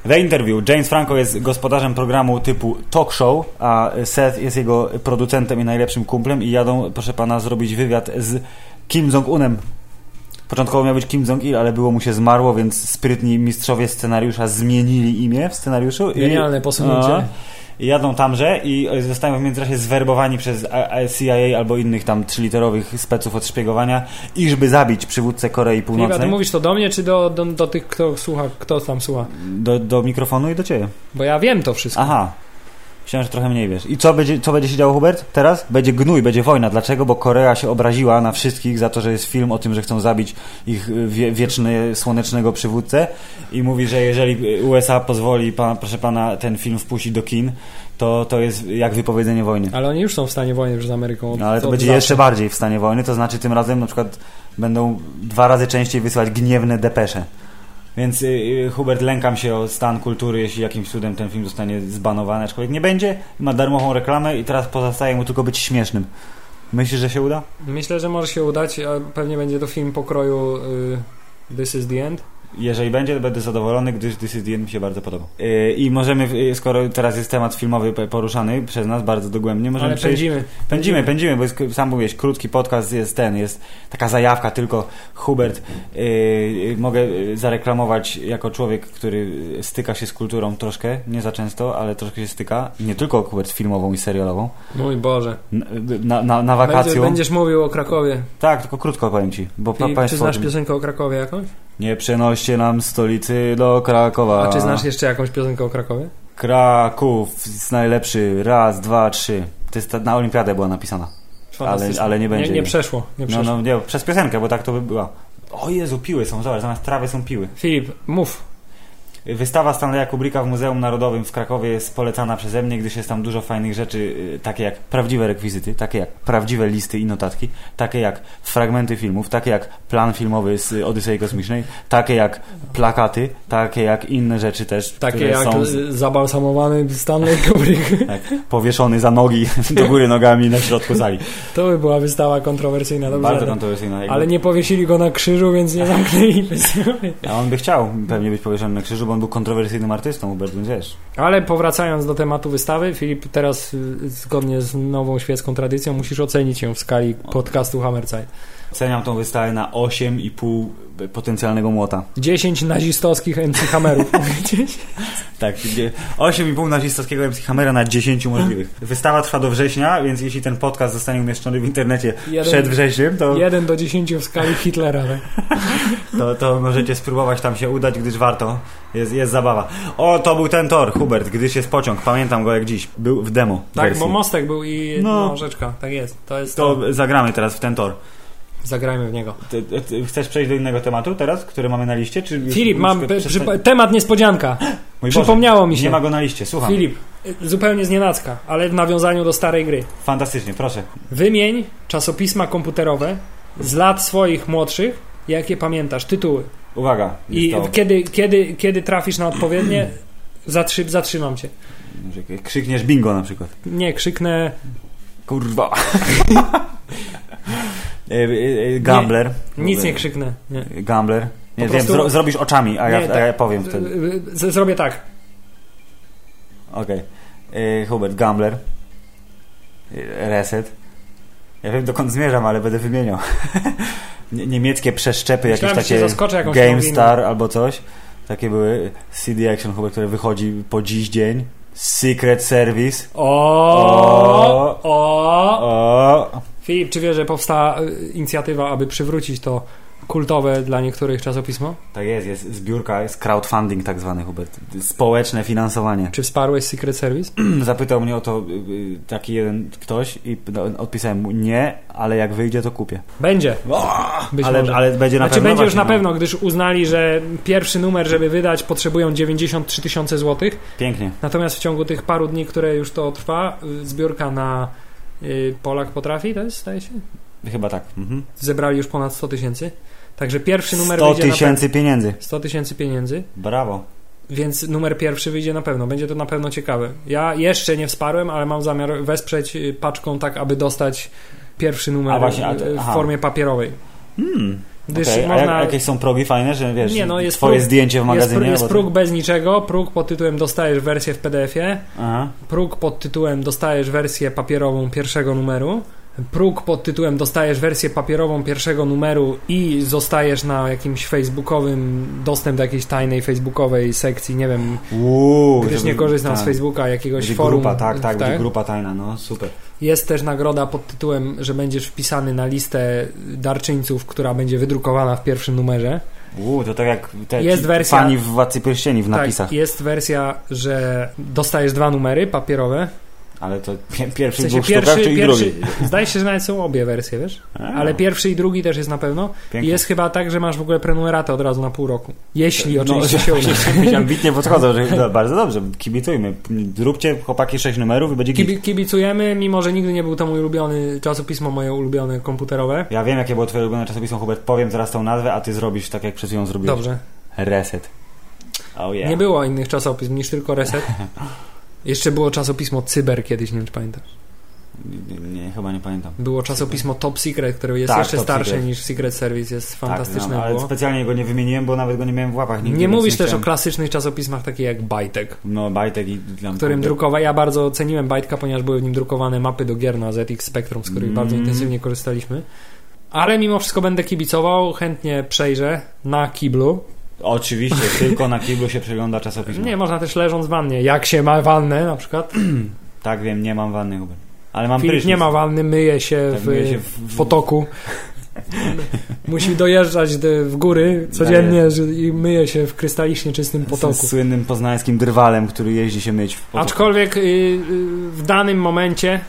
S2: The Interview. James Franco jest gospodarzem programu typu talk show, a Seth jest jego producentem i najlepszym kumplem i jadą, proszę pana, zrobić wywiad z Kim Jong-unem. Początkowo miał być Kim Jong-il, ale było mu się zmarło, więc sprytni mistrzowie scenariusza zmienili imię w scenariuszu. i-
S1: Genialne posunięcie.
S2: A. I jadą tamże i e, zostają w międzyczasie zwerbowani przez A- A- CIA albo innych tam trzyliterowych speców od szpiegowania, iżby zabić przywódcę Korei
S1: Filip, a ty
S2: Północnej.
S1: mówisz to do mnie, czy do, do, do tych, kto słucha, kto tam słucha?
S2: Do, do mikrofonu i do ciebie.
S1: Bo ja wiem to wszystko.
S2: Aha. Myślałem, że trochę mniej wiesz. I co będzie, co będzie się działo, Hubert? Teraz? Będzie gnój, będzie wojna. Dlaczego? Bo Korea się obraziła na wszystkich za to, że jest film o tym, że chcą zabić ich y, wie, wieczny, słonecznego przywódcę i mówi, że jeżeli y, USA pozwoli, pan, proszę pana, ten film wpuścić do kin, to to jest jak wypowiedzenie wojny.
S1: Ale oni już są w stanie wojny już z Ameryką. Od,
S2: No, ale to
S1: od
S2: będzie
S1: zawsze.
S2: jeszcze bardziej w stanie wojny, to znaczy tym razem na przykład będą dwa razy częściej wysyłać gniewne depesze. Więc y, y, Hubert, lękam się o stan kultury, jeśli jakimś cudem ten film zostanie zbanowany, aczkolwiek nie będzie, ma darmową reklamę i teraz pozostaje mu tylko być śmiesznym. Myślisz, że się uda?
S1: Myślę, że może się udać, a pewnie będzie to film pokroju y, This is the End.
S2: Jeżeli będzie, to będę zadowolony, gdyż This is the End mi się bardzo podoba. Y, I możemy, y, skoro teraz jest temat filmowy pe- poruszany przez nas bardzo dogłębnie, możemy
S1: Ale
S2: przejść
S1: pędzimy.
S2: Pędzimy, pędzimy, bo jest, sam mówiłeś, krótki podcast jest ten, jest taka zajawka, tylko Hubert, yy, yy, mogę yy, zareklamować jako człowiek, który yy, styka się z kulturą troszkę, nie za często, ale troszkę się styka, nie tylko Hubert filmową i serialową,
S1: Mój Boże.
S2: na, na, na, na
S1: Będzie,
S2: wakacją.
S1: będziesz mówił o Krakowie.
S2: Tak, tylko krótko powiem Ci, bo pa,
S1: Filip, czy
S2: Państwo...
S1: znasz piosenkę o Krakowie jakąś?
S2: Nie przenoście nam stolicy do Krakowa.
S1: A czy znasz jeszcze jakąś piosenkę o Krakowie?
S2: Kraków jest najlepszy, raz, dwa, trzy. To jest ta, na Olimpiadę była napisana. Ale,
S1: Fantastyczne.
S2: ale nie będzie.
S1: Nie, nie
S2: jej.
S1: przeszło. Nie
S2: No,
S1: przeszło.
S2: no, nie, przez piosenkę, bo tak to by była. O Jezu, piły są, zobacz, zamiast trawy są piły.
S1: Filip, mów.
S2: Wystawa Stanleya Kubricka w Muzeum Narodowym w Krakowie jest polecana przeze mnie, gdyż jest tam dużo fajnych rzeczy, y, takie jak prawdziwe rekwizyty, takie jak prawdziwe listy i notatki, takie jak fragmenty filmów, takie jak plan filmowy z y, Odysei Kosmicznej, takie jak plakaty, takie jak inne rzeczy też,
S1: Takie
S2: które
S1: jak
S2: są z-
S1: y, zabalsamowany Stanley Kubrick.
S2: powieszony za nogi do góry nogami na środku sali.
S1: To by była wystawa kontrowersyjna. Dobrze,
S2: Bardzo
S1: ale-
S2: kontrowersyjna. jakby-
S1: Ale nie powiesili go na krzyżu, więc nie zamknęli wystawy.
S2: A on by chciał pewnie być powieszony na krzyżu, bo on był kontrowersyjnym artystą, Hubert, więc wiesz.
S1: Ale powracając do tematu wystawy, Filip, teraz y, zgodnie z nową świecką tradycją musisz ocenić ją w skali podcastu Hammerzeit.
S2: Ceniam tą wystawę na 8,5 potencjalnego młota.
S1: 10 nazistowskich MC Hammerów.
S2: Tak, gdzie 8,5 nazistowskiego MC Hammera na 10 możliwych. Wystawa trwa do września, więc jeśli ten podcast zostanie umieszczony w internecie
S1: Jeden-
S2: przed wrześniem, to,
S1: 1 do 10 w skali Hitlera. Tak?
S2: to, to możecie spróbować tam się udać, gdyż warto. Jest, jest zabawa. O, to był ten tor, Hubert, gdyż jest pociąg. Pamiętam go jak dziś. Był w demo.
S1: tak,
S2: wersji.
S1: bo mostek był i
S2: No.
S1: no. rzeczka. Tak jest. To jest to.
S2: To zagramy teraz w ten tor.
S1: Zagrajmy w niego.
S2: Ty, ty, ty chcesz przejść do innego tematu teraz, który mamy na liście? Czy już-
S1: Filip,
S2: już
S1: mam
S2: przestań-
S1: pe- przypa- temat niespodzianka.
S2: Mój Boże,
S1: Przypomniało mi się.
S2: Nie ma go na liście, słucham.
S1: Filip, y, zupełnie znienacka, ale w nawiązaniu do starej gry.
S2: Fantastycznie, proszę.
S1: Wymień czasopisma komputerowe z lat swoich młodszych, jakie pamiętasz, tytuły.
S2: Uwaga.
S1: I
S2: jest to-
S1: kiedy, kiedy, kiedy trafisz na odpowiednie, zatrzy, zatrzymam cię.
S2: Krzykniesz bingo na przykład.
S1: Nie, krzyknę.
S2: Kurwa. E, e, e, Gambler.
S1: Nic nie krzyknę. Nie.
S2: Gambler. Nie,
S1: Po
S2: wiem,
S1: prostu-
S2: zro, zrobisz oczami, a ja,
S1: Nie,
S2: a ja
S1: tak.
S2: powiem wtedy.
S1: Z- z- Zrobię tak.
S2: Okej. E, Hubert, Gambler. E, Reset. Ja wiem dokąd zmierzam, ale będę wymieniał. Nie- Niemieckie przeszczepy,
S1: Myślałem, że
S2: jakieś
S1: cię
S2: takie
S1: zaskoczę jakąś
S2: GameStar albo coś. Takie były CD Action Hubert, które wychodzi po dziś dzień. Secret Service.
S1: O, o.
S2: O,
S1: Filip, czy wiesz, że powstała y, inicjatywa, aby przywrócić to kultowe dla niektórych czasopismo?
S2: tak jest, jest zbiórka, jest crowdfunding tak zwany Hubert. Społeczne finansowanie.
S1: Czy wsparłeś Secret Service?
S2: Zapytał mnie o to y, y, taki jeden ktoś i p- no, odpisałem mu nie, ale jak wyjdzie to kupię.
S1: Będzie. Być
S2: Ale,
S1: może.
S2: ale będzie na
S1: Znaczy
S2: pewno.
S1: będzie już
S2: właśnie,
S1: na
S2: no.
S1: pewno, gdyż uznali, że pierwszy numer, żeby wydać, potrzebują 93 tysiące złotych.
S2: Pięknie.
S1: Natomiast w ciągu tych paru dni, które już to trwa, y, zbiórka na y, Polak Potrafi, to jest, staje się,
S2: Chyba tak. Mhm.
S1: zebrali już ponad 100 tysięcy. Także pierwszy numer
S2: 100
S1: wyjdzie na
S2: tysięcy pieniędzy.
S1: pe- 100 tysięcy pieniędzy,
S2: Brawo.
S1: więc numer pierwszy wyjdzie na pewno. Będzie to na pewno ciekawe. Ja jeszcze nie wsparłem, ale mam zamiar wesprzeć y, paczką tak, aby dostać pierwszy numer
S2: A właśnie, a-
S1: y, w
S2: aha.
S1: formie papierowej.
S2: Hmm.
S1: Gdyż
S2: okej, A
S1: można...
S2: jak, jakieś są progi fajne, że wiesz,
S1: Nie, no, jest
S2: twoje
S1: próg-
S2: zdjęcie w
S1: Jest,
S2: magazynie.
S1: pró- jest
S2: albo
S1: próg bez niczego, próg pod tytułem dostajesz wersję w PDF-ie,
S2: to- Aha.
S1: próg pod tytułem dostajesz wersję papierową pierwszego numeru, próg pod tytułem dostajesz wersję papierową pierwszego numeru i zostajesz na jakimś facebookowym, dostęp do jakiejś tajnej facebookowej sekcji, nie wiem,
S2: Uuu,
S1: gdyż
S2: żeby-
S1: nie korzystam z
S2: tak.
S1: Facebooka, jakiegoś
S2: Będzie
S1: forum.
S2: grupa, tak, tak, będzie grupa tajna, no super.
S1: Jest też nagroda pod tytułem, że będziesz wpisany na listę darczyńców, która będzie wydrukowana w pierwszym numerze.
S2: Uuu, to tak jak te
S1: Jest
S2: ci-
S1: wersja-
S2: fani w Władcy Pierścieni w napisach.
S1: Tak, jest wersja, że dostajesz dwa numery papierowe.
S2: Ale to pie- pierwszy
S1: W sensie
S2: dwóch
S1: pierwszy,
S2: sztukach, czy i
S1: pierwszy
S2: drugi?
S1: zdaje się, że nawet są obie wersje, wiesz?
S2: A,
S1: Ale pierwszy i drugi też jest na pewno. I
S2: pięknie.
S1: jest chyba tak, że masz w ogóle prenumeratę od razu na pół roku. Jeśli oczywiście
S2: że-
S1: się uda.
S2: Jakieś ambitnie podchodzą, że no, bardzo dobrze, kibicujmy. Zróbcie chłopaki sześć numerów i będzie git.
S1: Kibi- Kibicujemy, mimo że nigdy nie był to mój ulubiony czasopismo, moje ulubione komputerowe.
S2: Ja wiem, jakie było twoje ulubione czasopismo, Hubert. Powiem zaraz tą nazwę, a ty zrobisz tak, jak przed chwilą zrobiłeś.
S1: Dobrze.
S2: Reset. Oh yeah.
S1: Nie było innych czasopism niż tylko Reset. Jeszcze było czasopismo Cyber kiedyś, nie wiem czy pamiętasz.
S2: Nie, chyba nie pamiętam.
S1: Było czasopismo Top Secret, które jest
S2: Tak,
S1: jeszcze
S2: Top
S1: starsze
S2: Secret.
S1: niż Secret Service, jest
S2: tak,
S1: fantastyczne
S2: znam, ale
S1: było.
S2: specjalnie go nie wymieniłem, bo nawet go nie miałem w łapach. Nigdy,
S1: Nie
S2: więc
S1: mówisz też o
S2: chciałem.
S1: klasycznych czasopismach takich jak Bajtek,
S2: No, bajtek i dla
S1: w którym drukowa... Ja bardzo ceniłem Bajtka, ponieważ były w nim drukowane mapy do gier na ZX Spectrum, z których
S2: Mm.
S1: bardzo intensywnie korzystaliśmy. Ale mimo wszystko będę kibicował, chętnie przejrzę na kiblu.
S2: Oczywiście, tylko na kiblu się przegląda czasopismo.
S1: Nie, można też leżąc w wannie. Jak się ma wannę na przykład.
S2: Tak wiem, nie mam wanny, Hubert. Ale mam
S1: Filip
S2: prysznic.
S1: nie ma wanny, myje się,
S2: Tak,
S1: w,
S2: myję się
S1: w potoku. Musi dojeżdżać do- w góry codziennie że- i myje się w krystalicznie czystym
S2: Z
S1: potoku.
S2: słynnym poznańskim drwalem, który jeździ się myć w potoku.
S1: Aczkolwiek y, y, w danym momencie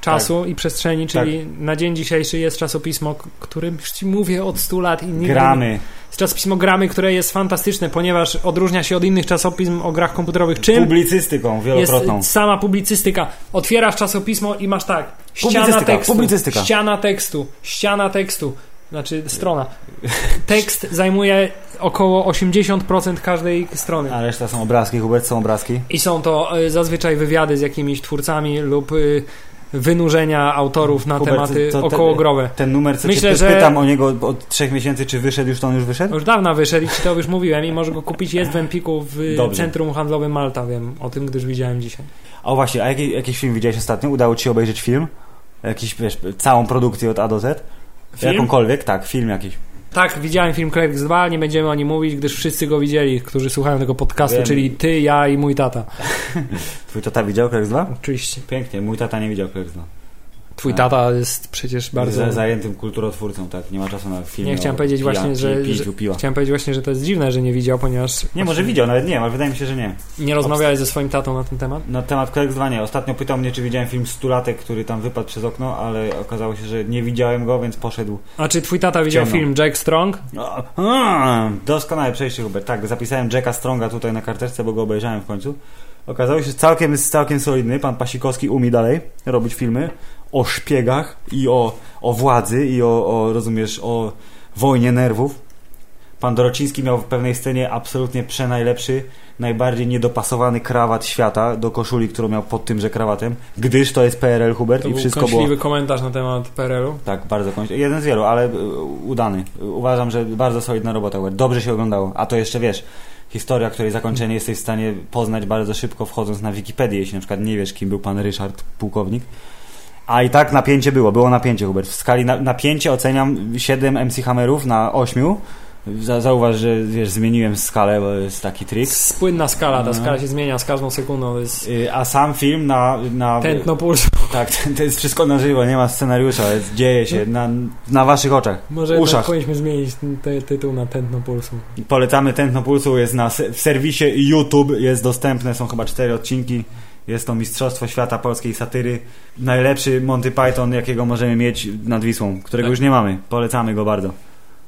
S1: czasu i przestrzeni, czyli na dzień dzisiejszy jest czasopismo, k- którym już ci mówię od 100 lat i nigdy
S2: Gramy.
S1: Jest czasopismo Gramy, które jest fantastyczne, ponieważ odróżnia się od innych czasopism o grach komputerowych. Czym?
S2: Publicystyką
S1: Jest
S2: wielokrotną.
S1: y, sama publicystyka. Otwierasz czasopismo i masz tak. Ściana
S2: Publicystyka,
S1: tekstu.
S2: publicystyka.
S1: Ściana tekstu. Ściana tekstu. Znaczy strona. Tekst zajmuje około 80% każdej strony.
S2: A reszta są obrazki, Hubert, są obrazki.
S1: I są to y, zazwyczaj wywiady z jakimiś twórcami lub y, wynurzenia autorów na
S2: Hubert,
S1: tematy
S2: to- to-
S1: okołogrowe.
S2: Ten numer, co
S1: Myślę,
S2: cię
S1: że-
S2: pytam o niego od trzech miesięcy, czy wyszedł, już to on już wyszedł?
S1: Już dawno wyszedł i ci to już mówiłem i możesz go kupić. Jest w Empiku w y,
S2: Dobrze.
S1: Centrum Handlowym Malta, wiem o tym, gdyż widziałem dzisiaj.
S2: O właśnie, a jaki, jakiś film widziałeś ostatnio? Udało ci się obejrzeć film? Jakiś, wiesz, całą produkcję od A do Z?
S1: Film?
S2: Jakąkolwiek, tak, film jakiś.
S1: Tak, widziałem film Clerks 2, nie będziemy o nim mówić, gdyż wszyscy go widzieli, którzy słuchają tego podcastu,
S2: Wiem.
S1: czyli ty, ja i mój tata.
S2: Twój tata widział Clerks 2?
S1: Oczywiście.
S2: Pięknie, mój tata nie widział Clerks 2.
S1: Twój
S2: Tak.
S1: tata jest przecież bardzo...
S2: Za, zajętym kulturotwórcą, tak, nie ma czasu na film.
S1: Nie, chciałem powiedzieć właśnie, że-
S2: Pij,
S1: że-
S2: pij, piła.
S1: Chciałem powiedzieć właśnie, że to jest dziwne, że nie widział, ponieważ
S2: Nie, może widział, nawet nie wiem, ale wydaje mi się, że nie.
S1: nie rozmawiałeś ze swoim tatą na ten temat.
S2: Na temat Clerks 2 nie. Ostatnio pytał mnie, czy widziałem film Stulatek, który tam wypadł przez okno, ale okazało się, że nie widziałem go, więc poszedł.
S1: A czy twój tata widział
S2: Ciemno.
S1: film Jack Strong?
S2: O, No, a, hmm, Doskonałe przejście, Hubert. Tak, zapisałem Jacka Stronga tutaj na karteczce, bo go obejrzałem w końcu. Okazało się, że całkiem, jest całkiem solidny. Pan Pasikowski umie dalej robić filmy o szpiegach i o, o władzy i o, o, rozumiesz, o wojnie nerwów. Pan Dorociński miał w pewnej scenie absolutnie przenajlepszy, najbardziej niedopasowany krawat świata do koszuli, którą miał pod tymże krawatem, gdyż to jest PRL Hubert
S1: To
S2: i
S1: był
S2: wszystko było
S1: kąśliwy komentarz na temat PRL-u.
S2: tak, bardzo kończy. Jeden z wielu, ale y, udany. Uważam, że bardzo solidna robota. Hubert. Dobrze się oglądało. A to jeszcze wiesz, historia, której zakończenie jesteś w stanie poznać bardzo szybko, wchodząc na Wikipedię, jeśli na przykład nie wiesz, kim był pan Ryszard, pułkownik. A i tak napięcie było, było napięcie, Hubert. W skali na, napięcie oceniam 7 MC Hammerów na 8. Za, zauważ, że wiesz, zmieniłem skalę, bo jest taki trik.
S1: Spłynna skala, ta
S2: No.
S1: skala się zmienia z każdą sekundą, to jest
S2: Y, A sam film na, na
S1: tętno pulsu.
S2: tak, to jest wszystko na żywo, nie ma scenariusza, jest, dzieje się na, na waszych oczach.
S1: Może jednak
S2: Uszach.
S1: powinniśmy zmienić ten ty- tytuł na tętno pulsu.
S2: Polecamy Tętno Pulsu, jest na, se- w serwisie YouTube, jest dostępne, są chyba cztery odcinki. Jest to Mistrzostwo Świata Polskiej Satyry. Najlepszy Monty Python, jakiego możemy mieć nad Wisłą, którego
S1: Tak.
S2: już nie mamy. Polecamy go bardzo.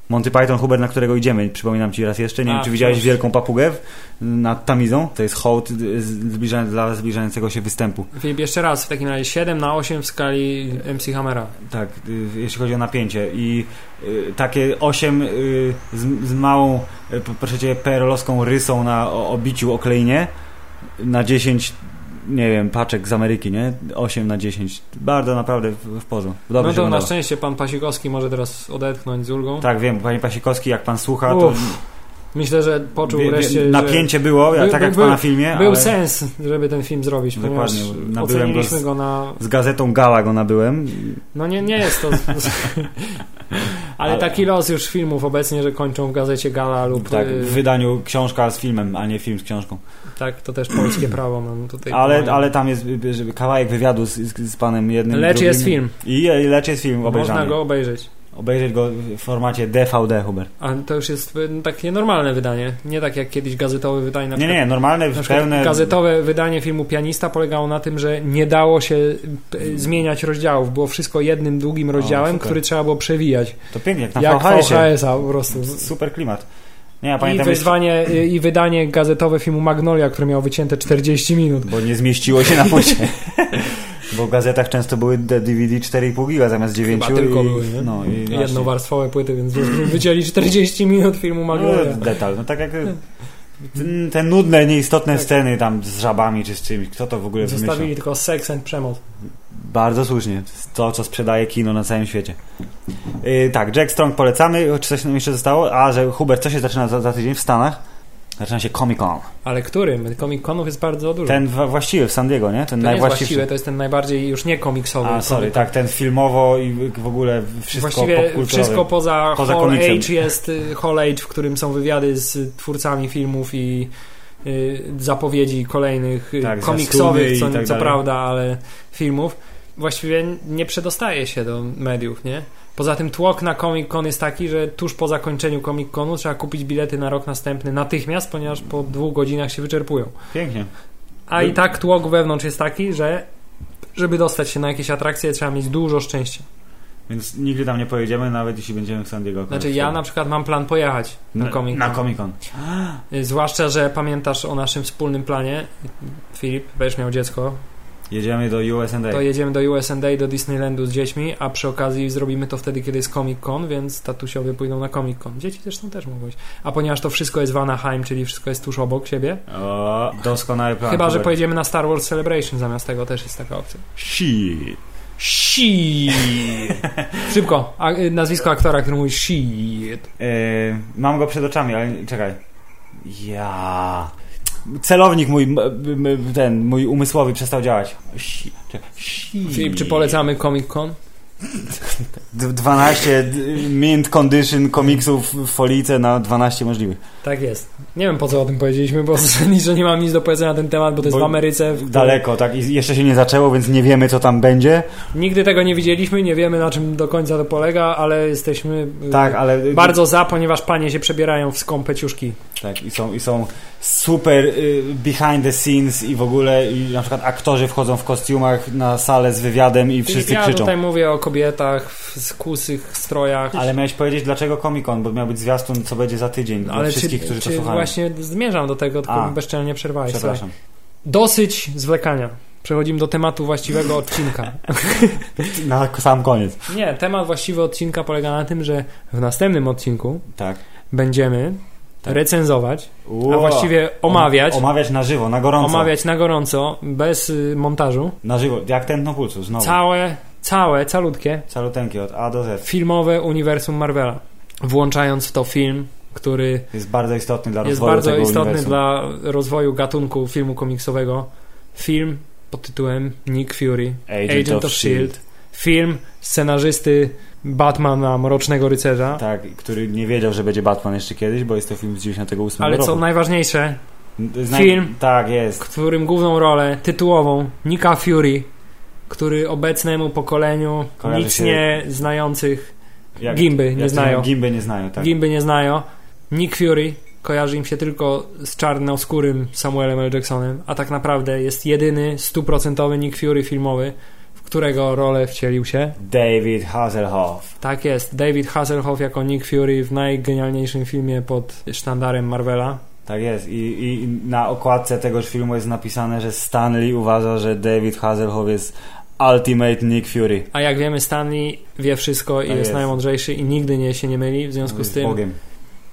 S2: Monty Python, Hubert, na którego idziemy, przypominam Ci raz jeszcze. Nie
S1: A,
S2: wiem, czy widziałeś
S1: proszę.
S2: Wielką Papugę w- nad Tamizą. To jest hołd y, zbliża, dla zbliżającego się występu.
S1: Filip, jeszcze raz, w takim razie 7 na 8 w skali MC Hammera.
S2: Tak, y, jeśli chodzi o napięcie i y, takie 8 y, z, z małą, y, p- proszę cię, perolowską rysą na o- obiciu oklejnie na 10, nie wiem, paczek z Ameryki, nie? 8 na 10. Bardzo naprawdę w, w porządku. Dobrze
S1: no
S2: się
S1: to na
S2: oglądało.
S1: szczęście pan Pasikowski może teraz odetchnąć z ulgą.
S2: Tak, wiem, panie Pasikowski, jak pan słucha, to
S1: Uff, Myślę, że poczuł
S2: wie- wie-
S1: wreszcie, że
S2: napięcie było, jak,
S1: Był-
S2: tak jak
S1: był-
S2: pana filmie,
S1: był
S2: ale
S1: sens, żeby ten film zrobić, ponieważ
S2: Dokładnie, nabyłem go z-
S1: oceniliśmy go na...
S2: z gazetą Gala go nabyłem.
S1: No nie, nie jest to... Ale
S2: Ale-
S1: taki los już filmów obecnie, że kończą w gazecie Gala lub...
S2: Tak,
S1: y,
S2: w wydaniu książka z filmem, a nie film z książką.
S1: tak to też polskie prawo mam tutaj.
S2: Ale, ale tam jest y, y, kawałek wywiadu z, z, z panem jednym.
S1: Lecz
S2: drugim.
S1: jest film,
S2: I i lecz jest film obejrzany.
S1: można go obejrzeć.
S2: Obejrzeć go w formacie DVD, Hubert.
S1: A to już jest y, takie normalne wydanie, nie tak jak kiedyś gazetowe wydanie. Na
S2: Nie,
S1: przykład
S2: nie, normalne,
S1: Na przykład
S2: pełne...
S1: gazetowe wydanie filmu Pianista polegało na tym, że nie dało się p- zmieniać rozdziałów. Było wszystko jednym długim rozdziałem,
S2: super.
S1: który trzeba było przewijać.
S2: To pięknie, jak na
S1: jak
S2: VHS-ie.
S1: VHS-a po prostu.
S2: Super klimat. Nie, ja
S1: I,
S2: pamiętam jeszcze,
S1: wyzwanie, e, I wydanie gazetowe filmu Magnolia, które miało wycięte 40 minut.
S2: bo nie zmieściło się na płycie. bo w gazetach często były te DVD 4,5 giga zamiast 9.
S1: tylko
S2: i,
S1: były, nie?
S2: No, i właśnie.
S1: Jednowarstwowe płyty, więc wycięli 40 minut filmu Magnolia.
S2: No, detal, no tak jak... Ten, te nudne, nieistotne
S1: Tak.
S2: sceny tam z żabami czy z czymś, kto to w ogóle wymyślił?
S1: Zostawili tylko seks and przemoc.
S2: Bardzo słusznie. To, co sprzedaje kino na całym świecie. Yy, tak, Jack Strong polecamy. Czy coś nam jeszcze zostało? A, że Hubert, co się zaczyna za, za tydzień w Stanach? Zaczyna się Comic Con.
S1: Ale którym? Comic-Conów jest bardzo dużo.
S2: Ten wa- właściwy w San Diego, nie? Ten
S1: to nie jest właściwe,
S2: najwłaściwszy.
S1: to jest ten najbardziej już nie komiksowy.
S2: A, sorry, tak, ten filmowo i w ogóle wszystko
S1: Właściwie
S2: popkulturowe.
S1: wszystko poza,
S2: Poza
S1: Hall
S2: komiksem.
S1: Age jest y, Hall Age, w którym są wywiady z twórcami filmów i y, zapowiedzi kolejnych y,
S2: Tak,
S1: komiksowych,
S2: zwiastuny
S1: co,
S2: i tak
S1: co
S2: dalej.
S1: prawda, ale filmów. Właściwie nie przedostaje się do mediów, nie? Poza tym tłok na Comic Con jest taki, że tuż po zakończeniu Comic Conu trzeba kupić bilety na rok następny natychmiast, ponieważ po dwóch godzinach się wyczerpują.
S2: Pięknie.
S1: A
S2: No.
S1: i tak tłok wewnątrz jest taki, że żeby dostać się na jakieś atrakcje trzeba mieć dużo szczęścia.
S2: Więc nigdy tam nie pojedziemy, nawet jeśli będziemy w San Diego. akurat
S1: Znaczy
S2: wtedy.
S1: ja na przykład mam plan pojechać na Comic
S2: Na
S1: Con.
S2: Comic Con.
S1: Y, Zwłaszcza, że pamiętasz o naszym wspólnym planie. Filip, będziesz miał dziecko.
S2: Jedziemy do USA.
S1: To jedziemy do USND, do Disneylandu z dziećmi, a przy okazji zrobimy to wtedy, kiedy jest Comic Con, więc tatusiowie pójdą na Comic Con. Dzieci zresztą też mogą iść. A ponieważ to wszystko jest w Anaheim, czyli wszystko jest tuż obok siebie,
S2: O, doskonały plan.
S1: chyba, że
S2: Hubert.
S1: pojedziemy na Star Wars Celebration zamiast tego, też jest taka opcja.
S2: Shit.
S1: Shit! Szybko, a, y, nazwisko aktora, który mówi shit.
S2: Yy, mam go przed oczami, ale nie- czekaj. Ja. Celownik mój, m- m- m- ten, mój umysłowy przestał działać. Si- czekaj. Si-
S1: Filip, czy polecamy Comic Con?
S2: D- 12 d- mint condition komiksów w folice na 12 możliwych.
S1: Tak jest. Nie wiem po co o tym powiedzieliśmy, bo zasadniczo nie mam nic do powiedzenia na ten temat, bo to jest
S2: Bo
S1: w Ameryce. w-
S2: Daleko, tak? I jeszcze się nie zaczęło, więc nie wiemy, co tam będzie.
S1: Nigdy tego nie widzieliśmy, nie wiemy na czym do końca to polega, ale jesteśmy y,
S2: Tak, ale...
S1: bardzo za, ponieważ panie się przebierają w skąpe ciuszki.
S2: Tak, i są, i są super y, behind the scenes i w ogóle i na przykład aktorzy wchodzą w kostiumach na salę z wywiadem i wszyscy
S1: ja
S2: krzyczą.
S1: tutaj mówię o kobietach w skusych strojach.
S2: Ale miałeś powiedzieć, dlaczego Comic Con, bo miał być zwiastun, co będzie za tydzień dla
S1: Ale
S2: wszystkich,
S1: czy,
S2: którzy
S1: czy
S2: to słuchają.
S1: właśnie zmierzam do tego, tylko
S2: A.
S1: mi bezczelnie przerwałeś. Słuchaj.
S2: Przepraszam.
S1: Dosyć zwlekania. Przechodzimy do tematu właściwego odcinka.
S2: Na sam koniec.
S1: Nie, temat właściwy odcinka polega na tym, że w następnym odcinku
S2: Tak.
S1: będziemy
S2: Tak.
S1: recenzować,
S2: Ua.
S1: a właściwie omawiać,
S2: Om- Omawiać na żywo, na gorąco.
S1: omawiać na gorąco, bez y, montażu,
S2: Na żywo, jak tętno pulsu, znowu.
S1: całe, całe, calutkie
S2: Caluteńki od A do Z.
S1: filmowe uniwersum Marvela. Włączając w to film, który
S2: Jest bardzo istotny dla
S1: jest
S2: rozwoju
S1: bardzo
S2: tego
S1: istotny
S2: uniwersum.
S1: dla rozwoju gatunku filmu komiksowego. Film pod tytułem Nick Fury, Agent, of,
S2: E
S1: Shield. E Film scenarzysty Batmana Mrocznego Rycerza.
S2: Tak, który nie wiedział, że będzie Batman jeszcze kiedyś, bo jest to film z 98
S1: Ale
S2: roku.
S1: co najważniejsze,
S2: Zna-
S1: Film.
S2: Tak, jest.
S1: którym główną rolę tytułową Nika Fury, który obecnemu pokoleniu
S2: Kojarzy
S1: nic
S2: się-
S1: nie znających, Gimby nie
S2: to
S1: znają.
S2: Gimby nie znają, tak.
S1: gimby nie znają, Nick Fury kojarzy im się tylko z czarnoskórym Samuelem L. Jacksonem, a tak naprawdę jest jedyny stuprocentowy Nick Fury filmowy, w którego rolę wcielił się.
S2: David Hasselhoff.
S1: Tak jest, David Hasselhoff jako Nick Fury w najgenialniejszym filmie pod sztandarem Marvela.
S2: Tak jest. I, I na okładce tegoż filmu jest napisane, że Stanley uważa, że David Hasselhoff jest ultimate Nick Fury.
S1: A jak wiemy, Stanley wie wszystko i
S2: Tak
S1: jest,
S2: jest.
S1: najmądrzejszy i nigdy nie się nie myli, w związku z
S2: Jest
S1: tym
S2: Bogiem.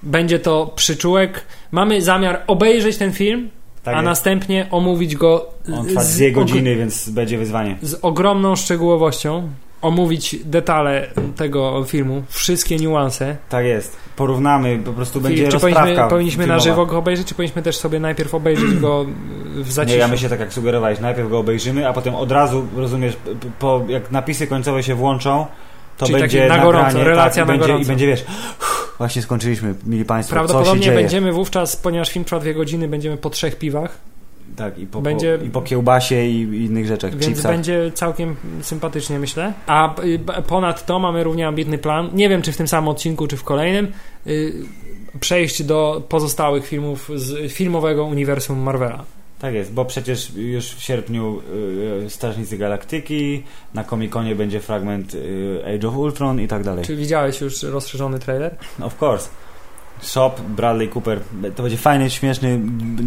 S1: Będzie to przyczółek. Mamy zamiar obejrzeć ten film,
S2: Tak
S1: a
S2: jest.
S1: następnie omówić go
S2: On trwa
S1: z-
S2: dwie godziny, więc będzie wyzwanie.
S1: og- z ogromną szczegółowością. Omówić detale tego filmu, wszystkie niuanse.
S2: Tak jest. Porównamy, po prostu będzie
S1: Filip, czy
S2: rozprawka
S1: powinniśmy, powinniśmy na
S2: filmowa.
S1: żywo go obejrzeć, czy powinniśmy też sobie najpierw obejrzeć go w
S2: Nie,
S1: zaciszu?
S2: ja myślę tak jak sugerowałeś, najpierw go obejrzymy, a potem od razu, rozumiesz, p- p- po, jak napisy końcowe się włączą, to
S1: Czyli
S2: będzie
S1: taki na gorąco,
S2: nagranie,
S1: relacja
S2: tak, i
S1: na
S2: będzie,
S1: gorąco.
S2: I będzie, wiesz, właśnie skończyliśmy, mili państwo, co się
S1: Prawdopodobnie
S2: dzieje.
S1: będziemy wówczas, ponieważ film trwa dwie godziny, będziemy po trzech piwach,
S2: Tak, i po,
S1: będzie-
S2: po, i po kiełbasie i, i innych rzeczach,
S1: więc
S2: chipsach.
S1: będzie całkiem sympatycznie, myślę. A y, b- ponadto mamy równie ambitny plan. Nie wiem, czy w tym samym odcinku, czy w kolejnym. y, Przejść do pozostałych filmów z filmowego uniwersum Marvela.
S2: Tak jest, bo przecież już w sierpniu y, Strażnicy Galaktyki, na Komikonie będzie fragment y, Age of Ultron i tak dalej.
S1: Czy widziałeś już rozszerzony trailer?
S2: Of course. Shop, Bradley Cooper. To będzie fajny, śmieszny,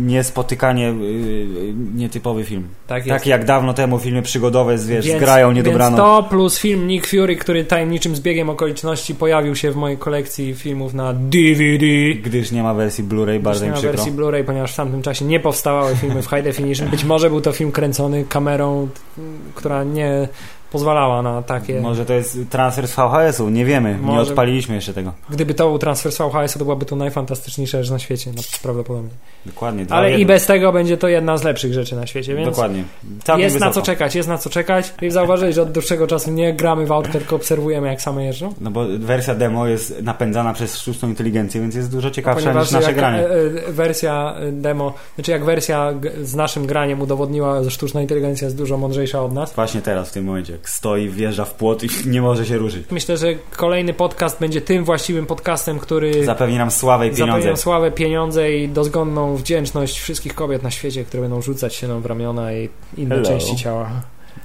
S2: niespotykanie, y, nietypowy film.
S1: Tak
S2: Tak jak dawno temu filmy przygodowe z, wiesz,
S1: Więc-
S2: z grają niedobraną.
S1: Więc to plus film Nick Fury, który tajemniczym zbiegiem okoliczności pojawił się w mojej kolekcji filmów na DVD.
S2: Gdyż nie ma wersji Blu-ray,
S1: Już
S2: bardzo
S1: nie
S2: mi
S1: ma
S2: przykro.
S1: wersji Blu-ray, ponieważ w tamtym czasie nie powstawały filmy w high definition. Być może był to film kręcony kamerą, t- która nie pozwalała na takie.
S2: Może to jest transfer z VHS-u, nie wiemy, nie
S1: Może.
S2: odpaliliśmy jeszcze tego.
S1: Gdyby to był transfer z VHS, to byłaby to najfantastyczniejsza rzecz na świecie, na- prawdopodobnie.
S2: Dokładnie. dwa
S1: Ale
S2: jeden.
S1: i bez tego będzie to jedna z lepszych rzeczy na świecie, więc
S2: Dokładnie. Całkiem
S1: jest na
S2: wysoko.
S1: co czekać, jest na co czekać. I zauważyli, że od dłuższego czasu nie gramy w aut, tylko obserwujemy, jak same jeżdżą.
S2: No bo wersja demo jest napędzana przez sztuczną inteligencję, więc jest dużo ciekawsza
S1: Ponieważ
S2: niż nasze
S1: jak
S2: granie.
S1: e, e, wersja e, demo, znaczy jak wersja g- z naszym graniem udowodniła, że sztuczna inteligencja jest dużo mądrzejsza od nas.
S2: Właśnie teraz, w tym momencie, jak stoi, wjeżdża w płot i nie może się ruszyć.
S1: Myślę, że kolejny podcast będzie tym właściwym podcastem, który
S2: Zapewni nam sławę i pieniądze.
S1: zapewnia sławę, pieniądze i dozgonną wdzięczność wszystkich kobiet na świecie, które będą rzucać się nam w ramiona i inne
S2: Hello.
S1: części ciała.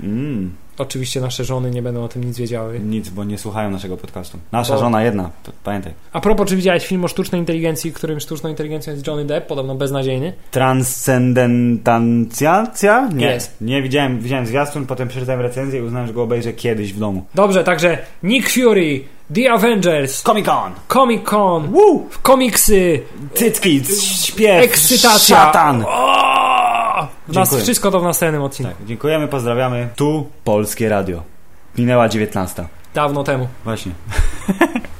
S2: Mm,
S1: Oczywiście nasze żony nie będą o tym nic wiedziały.
S2: nic, bo nie słuchają naszego podcastu. Nasza
S1: Bo-
S2: żona jedna, p- pamiętaj.
S1: A propos, czy widziałeś film o sztucznej inteligencji, którym sztuczną inteligencją jest Johnny Depp, podobno beznadziejny?
S2: Transcendentancja? Nie,
S1: Jest.
S2: nie widziałem, widziałem zwiastun, potem przeczytałem recenzję i uznałem, że go obejrzę kiedyś w domu.
S1: Dobrze, także Nick Fury, The Avengers,
S2: Comic Con!
S1: Comic Con,
S2: Woo!
S1: komiksy,
S2: Cycki, c- śpiew,
S1: ekscytacja.
S2: szatan!
S1: O! W Nas,
S2: Dziękuję.
S1: wszystko to w następnym odcinku.
S2: Tak, dziękujemy, pozdrawiamy. Tu Polskie Radio. Minęła 19.
S1: Dawno temu.
S2: Właśnie.